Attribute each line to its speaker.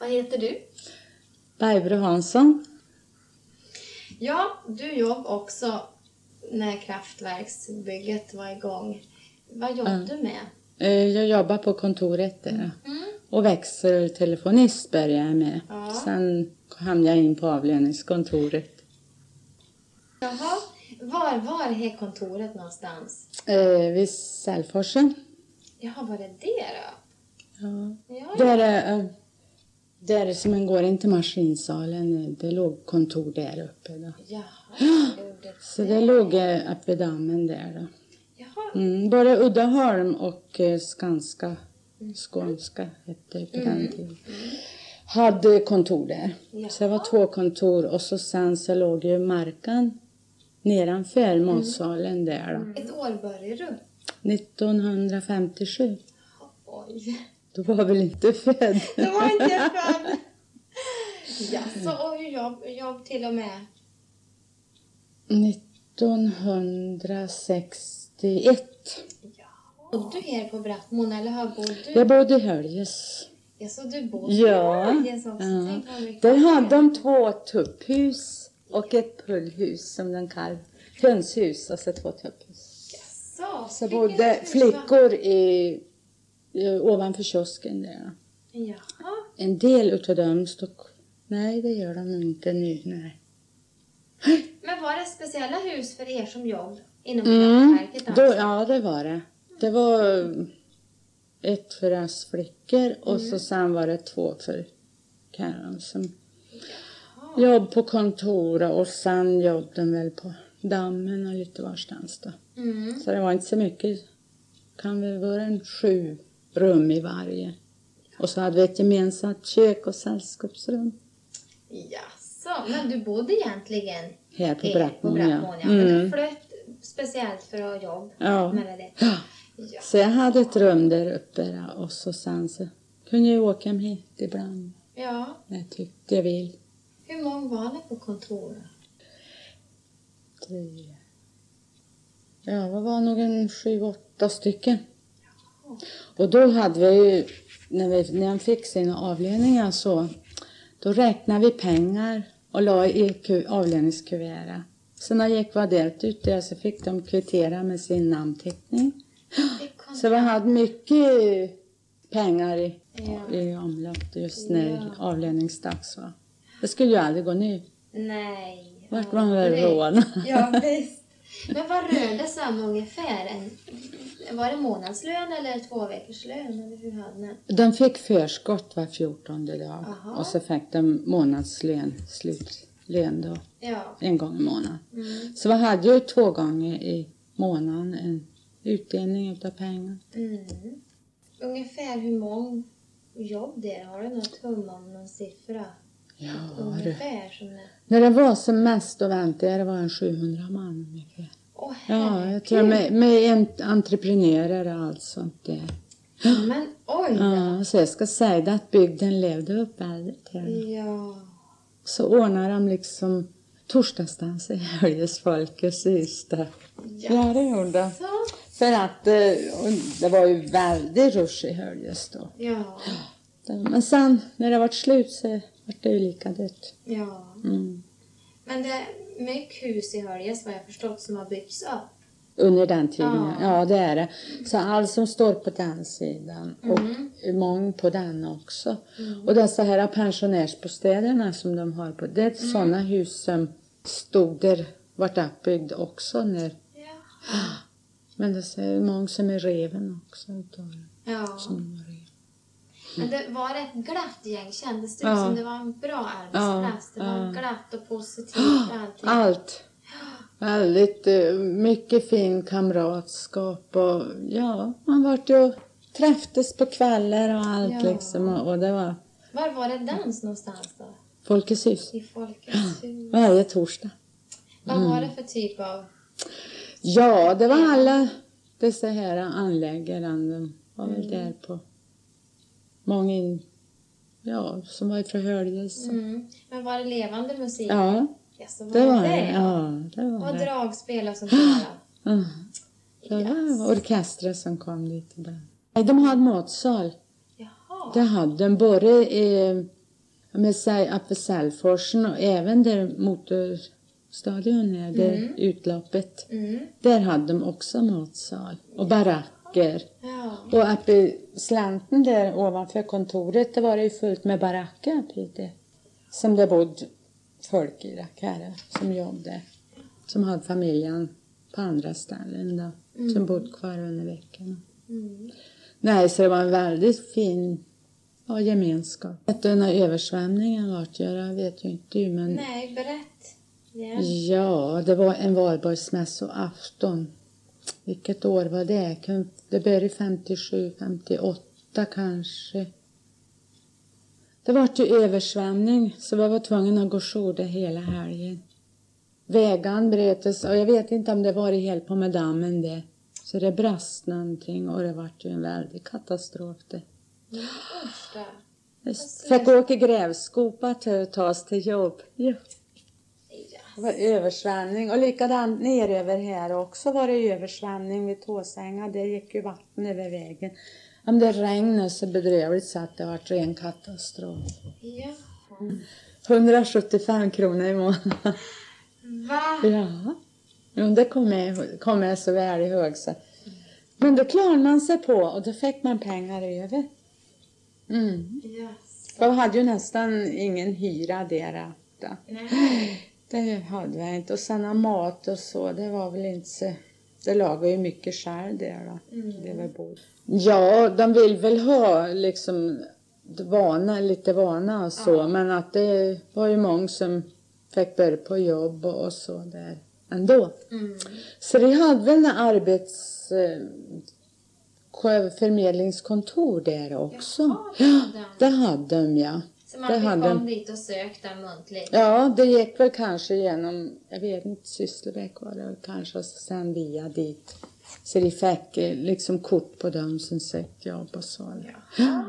Speaker 1: Vad heter du?
Speaker 2: Barbro Hansson.
Speaker 1: Ja, du jobb också när kraftverksbygget var igång. Vad jobbade du med?
Speaker 2: Eh, Jag jobbar på kontoret där. Och växeltelefonist började jag med.
Speaker 1: Ja.
Speaker 2: Sen hamnade jag in på avlöningskontoret.
Speaker 1: Jaha, var var är kontoret någonstans?
Speaker 2: Eh, vid Sällforsen.
Speaker 1: Jaha, var det det då?
Speaker 2: Ja.
Speaker 1: Ja,
Speaker 2: Där, är, eh, där som man går in till maskinsalen, eh, det låg kontor där uppe då.
Speaker 1: Jaha, det gjorde det.
Speaker 2: Så det låg eh, uppe i dammen där då.
Speaker 1: Jaha,
Speaker 2: Mm, både Uddeholm och eh, Skanska, Skånska hette det på den tiden, hade kontor där. Så det var två kontor och så sen så låg ju marken nedanför matsalen där då.
Speaker 1: ett år började du.
Speaker 2: 1957.
Speaker 1: Oj,
Speaker 2: Då var jag väl inte född.
Speaker 1: det var inte jag född. Jaså, och jobb, jobb till och med?
Speaker 2: 1961.
Speaker 1: Ja. Bodde du här på Brattmån eller har bodde du?
Speaker 2: Jag bodde i Höljes.
Speaker 1: Jaså, du bodde
Speaker 2: Ja.
Speaker 1: där? Jaså,
Speaker 2: ja.
Speaker 1: tänk vad mycket.
Speaker 2: Där hade de två tupphus och ett pullhus som de kallar hönshus. Alltså två tupphus.
Speaker 1: Jaså,
Speaker 2: Så
Speaker 1: fick
Speaker 2: bodde
Speaker 1: ni-
Speaker 2: flickor i, i, ovanför kiosken där.
Speaker 1: Jaha.
Speaker 2: En del utav dem stod... Nej, det gör de nog inte nu. Nej.
Speaker 1: Men var det speciella hus för er som jobb inom
Speaker 2: Mm.
Speaker 1: kraftverket?
Speaker 2: Då,
Speaker 1: Alltså?
Speaker 2: ja, det var det. Det var eh, ett för oss flickor och så sen var det två för Karin som jobb på kontor och sen jobb de väl på dammen och lite varstans då.
Speaker 1: Mm.
Speaker 2: Så det var inte så mycket. Kan väl vara en sju rum i varje. Och så hade vi ett gemensamt kök och sällskapsrum.
Speaker 1: Jaså, men du bodde egentligen
Speaker 2: Här på
Speaker 1: i-
Speaker 2: Brattmån,
Speaker 1: Brattmån,
Speaker 2: ja.
Speaker 1: ja. Men du
Speaker 2: Mm.
Speaker 1: flöt speciellt för att ha jobb
Speaker 2: Ja.
Speaker 1: med det.
Speaker 2: Ja.
Speaker 1: Ja.
Speaker 2: Så jag hade ett rum där uppe då, och så sen så kunde jag åka hem hit ibland
Speaker 1: ja.
Speaker 2: när jag tyckte jag vill.
Speaker 1: Hur många var ni på kontoret?
Speaker 2: Tre. Ja, vad var nog en sju, åtta stycken. Och då hade vi ju, när, vi, när han fick sina avlöningar så, då räknade vi pengar och la i ku- avlöningskuvertet. Så när jag gick var delt ut det så fick de kvittera med sin namnteckning.
Speaker 1: Det kom-
Speaker 2: Så vi hade mycket pengar i,
Speaker 1: Ja.
Speaker 2: i omlopp just när avlöningsdags var. Det skulle ju aldrig gå nu.
Speaker 1: Nej.
Speaker 2: Vart
Speaker 1: ja,
Speaker 2: man väl
Speaker 1: nej.
Speaker 2: rån.
Speaker 1: Ja, visst. Men vad rörde det sig om ungefär? En, var det månadslön eller två veckors lön? Eller hur hade ni?
Speaker 2: De fick förskott var fjortonde dag
Speaker 1: Aha.
Speaker 2: och så fick de månadslön, slutlön då,
Speaker 1: Ja.
Speaker 2: en gång i månaden.
Speaker 1: Mm.
Speaker 2: Så vi hade ju två gånger i månaden en utdelning utav pengar.
Speaker 1: Mm. Ungefär hur många jobb det är? Har du något hum om någon siffra?
Speaker 2: Ja, du.
Speaker 1: Ungefär som det...
Speaker 2: När det var som mest då väntade jag, det var en 700 man ungefär.
Speaker 1: Åh,
Speaker 2: Ja, jag
Speaker 1: herregud.
Speaker 2: tror med, med en, entreprenörer och allt sånt där.
Speaker 1: Men oj!
Speaker 2: Ja, så jag ska säga det att bygden levde upp väldigt
Speaker 1: Mm.
Speaker 2: här.
Speaker 1: Ja.
Speaker 2: Så ordnar de liksom torsdagsdans i Höljes Folkets i Ystad. Ja, det gjorde de.
Speaker 1: Så.
Speaker 2: För att eh, och det var ju väldigt rush i Höljes då.
Speaker 1: Ja.
Speaker 2: Men sen när det vart slut så vart det ju lika dött.
Speaker 1: Ja.
Speaker 2: Mm.
Speaker 1: Men det är mycket hus i Höljes vad jag förstått som har byggts upp.
Speaker 2: Under den tiden,
Speaker 1: Ja.
Speaker 2: ja. det är det. Så allt som står på den sidan och många på den också. Och dessa här pensionärsbostäderna som de har på, det är sådana hus som stod där, vart uppbyggd också när,
Speaker 1: Ja.
Speaker 2: men det är många som är reven också utav det,
Speaker 1: ja.
Speaker 2: som var rev.
Speaker 1: Men det var ett glatt gäng. Kändes det
Speaker 2: Ja.
Speaker 1: som det var en bra arbetsplats? Det var
Speaker 2: Ja.
Speaker 1: glatt och positivt allting.
Speaker 2: Allt. Väldigt eh, mycket fin kamratskap och ja, man vart ju träffades på kvällar och allt
Speaker 1: Ja.
Speaker 2: liksom och, och det var
Speaker 1: Var var det dans någonstans då?
Speaker 2: Folkets hus.
Speaker 1: I Folkets hus?
Speaker 2: Varje torsdag.
Speaker 1: Vad var
Speaker 2: Mm.
Speaker 1: det för typ av...
Speaker 2: Ja, det var alla dessa här anläggare. De var
Speaker 1: Mm.
Speaker 2: väl där på många in, ja, som var ifrån Höljes.
Speaker 1: Mm. Men var det levande musik?
Speaker 2: Ja,
Speaker 1: Jaså,
Speaker 2: det var det. Ja, det var
Speaker 1: Och
Speaker 2: det.
Speaker 1: dragspel och sånt där?
Speaker 2: Mm. Det var orkestrar som kom dit ibland. Nej, De hade matsal.
Speaker 1: Jaha.
Speaker 2: Det hade de både i men säg uppe Sällforsen och även där motorstadion är, där
Speaker 1: Mm.
Speaker 2: utloppet.
Speaker 1: Mm.
Speaker 2: Där hade de också matsal och baracker.
Speaker 1: Ja.
Speaker 2: Och uppe i slänten där ovanför kontoret, det var det ju fullt med baracker uppe i det. Som det bodde folk i rackare som jobbade. Som hade familjen på andra ställen då. Som bodde kvar under veckan.
Speaker 1: Mm.
Speaker 2: Nej, så det var en väldigt fin ja, gemenskap. Vet du när översvämningen vart, jag vet ju inte du, men
Speaker 1: Nej, berätt. Ja.
Speaker 2: Ja, det var en valborgsmässoafton. Vilket år var det? Kan- Det började 57, 58 kanske. Det var ju översvämning så vi var tvungna att gå jour det hela helgen. Vägan brötes och jag vet inte om det var helt på med dammen det. Så det brast någonting och det vart ju en väldig katastrof det.
Speaker 1: Usch då.
Speaker 2: Just. Fick åka grävskopa till att ta oss till jobb. Ja.
Speaker 1: Ja.
Speaker 2: Det var översvämning och likadant neröver här också var det översvämning vid Tåsänga. Där gick ju vatten över vägen. Om det regnade så bedrövligt så att det var ren katastrof.
Speaker 1: Ja.
Speaker 2: 175 kronor i månaden.
Speaker 1: Va?
Speaker 2: Ja, jo, det kommer jag, ihåg- kommer jag så väl ihåg. Så. Men då klarade man sig på och då fick man pengar över. Mm.
Speaker 1: Yes.
Speaker 2: För jag hade ju nästan ingen hyra där. Då.
Speaker 1: Nej.
Speaker 2: Det hade jag inte. Och sen av mat och så, det var väl inte så... Det lagade ju mycket själv där då.
Speaker 1: Mm.
Speaker 2: Det var bord. Ja, de vill väl ha liksom vana, lite vana och så.
Speaker 1: Ja.
Speaker 2: Men att det var ju många som fick börja på jobb och och så där ändå.
Speaker 1: Mm.
Speaker 2: Så vi hade väl en arbets... eh, ko- förmedlingskontor där också.
Speaker 1: Jaha, det hade de.
Speaker 2: det hade de ja.
Speaker 1: Så
Speaker 2: Det
Speaker 1: man fick
Speaker 2: hade-
Speaker 1: komma dit och söka muntligt?
Speaker 2: Ja, det gick väl kanske genom, jag vet inte, Sysslebäck var det väl kanske och så sen via dit. Så de fick eh, liksom kort på dem som sökte jobb och så.
Speaker 1: Ja.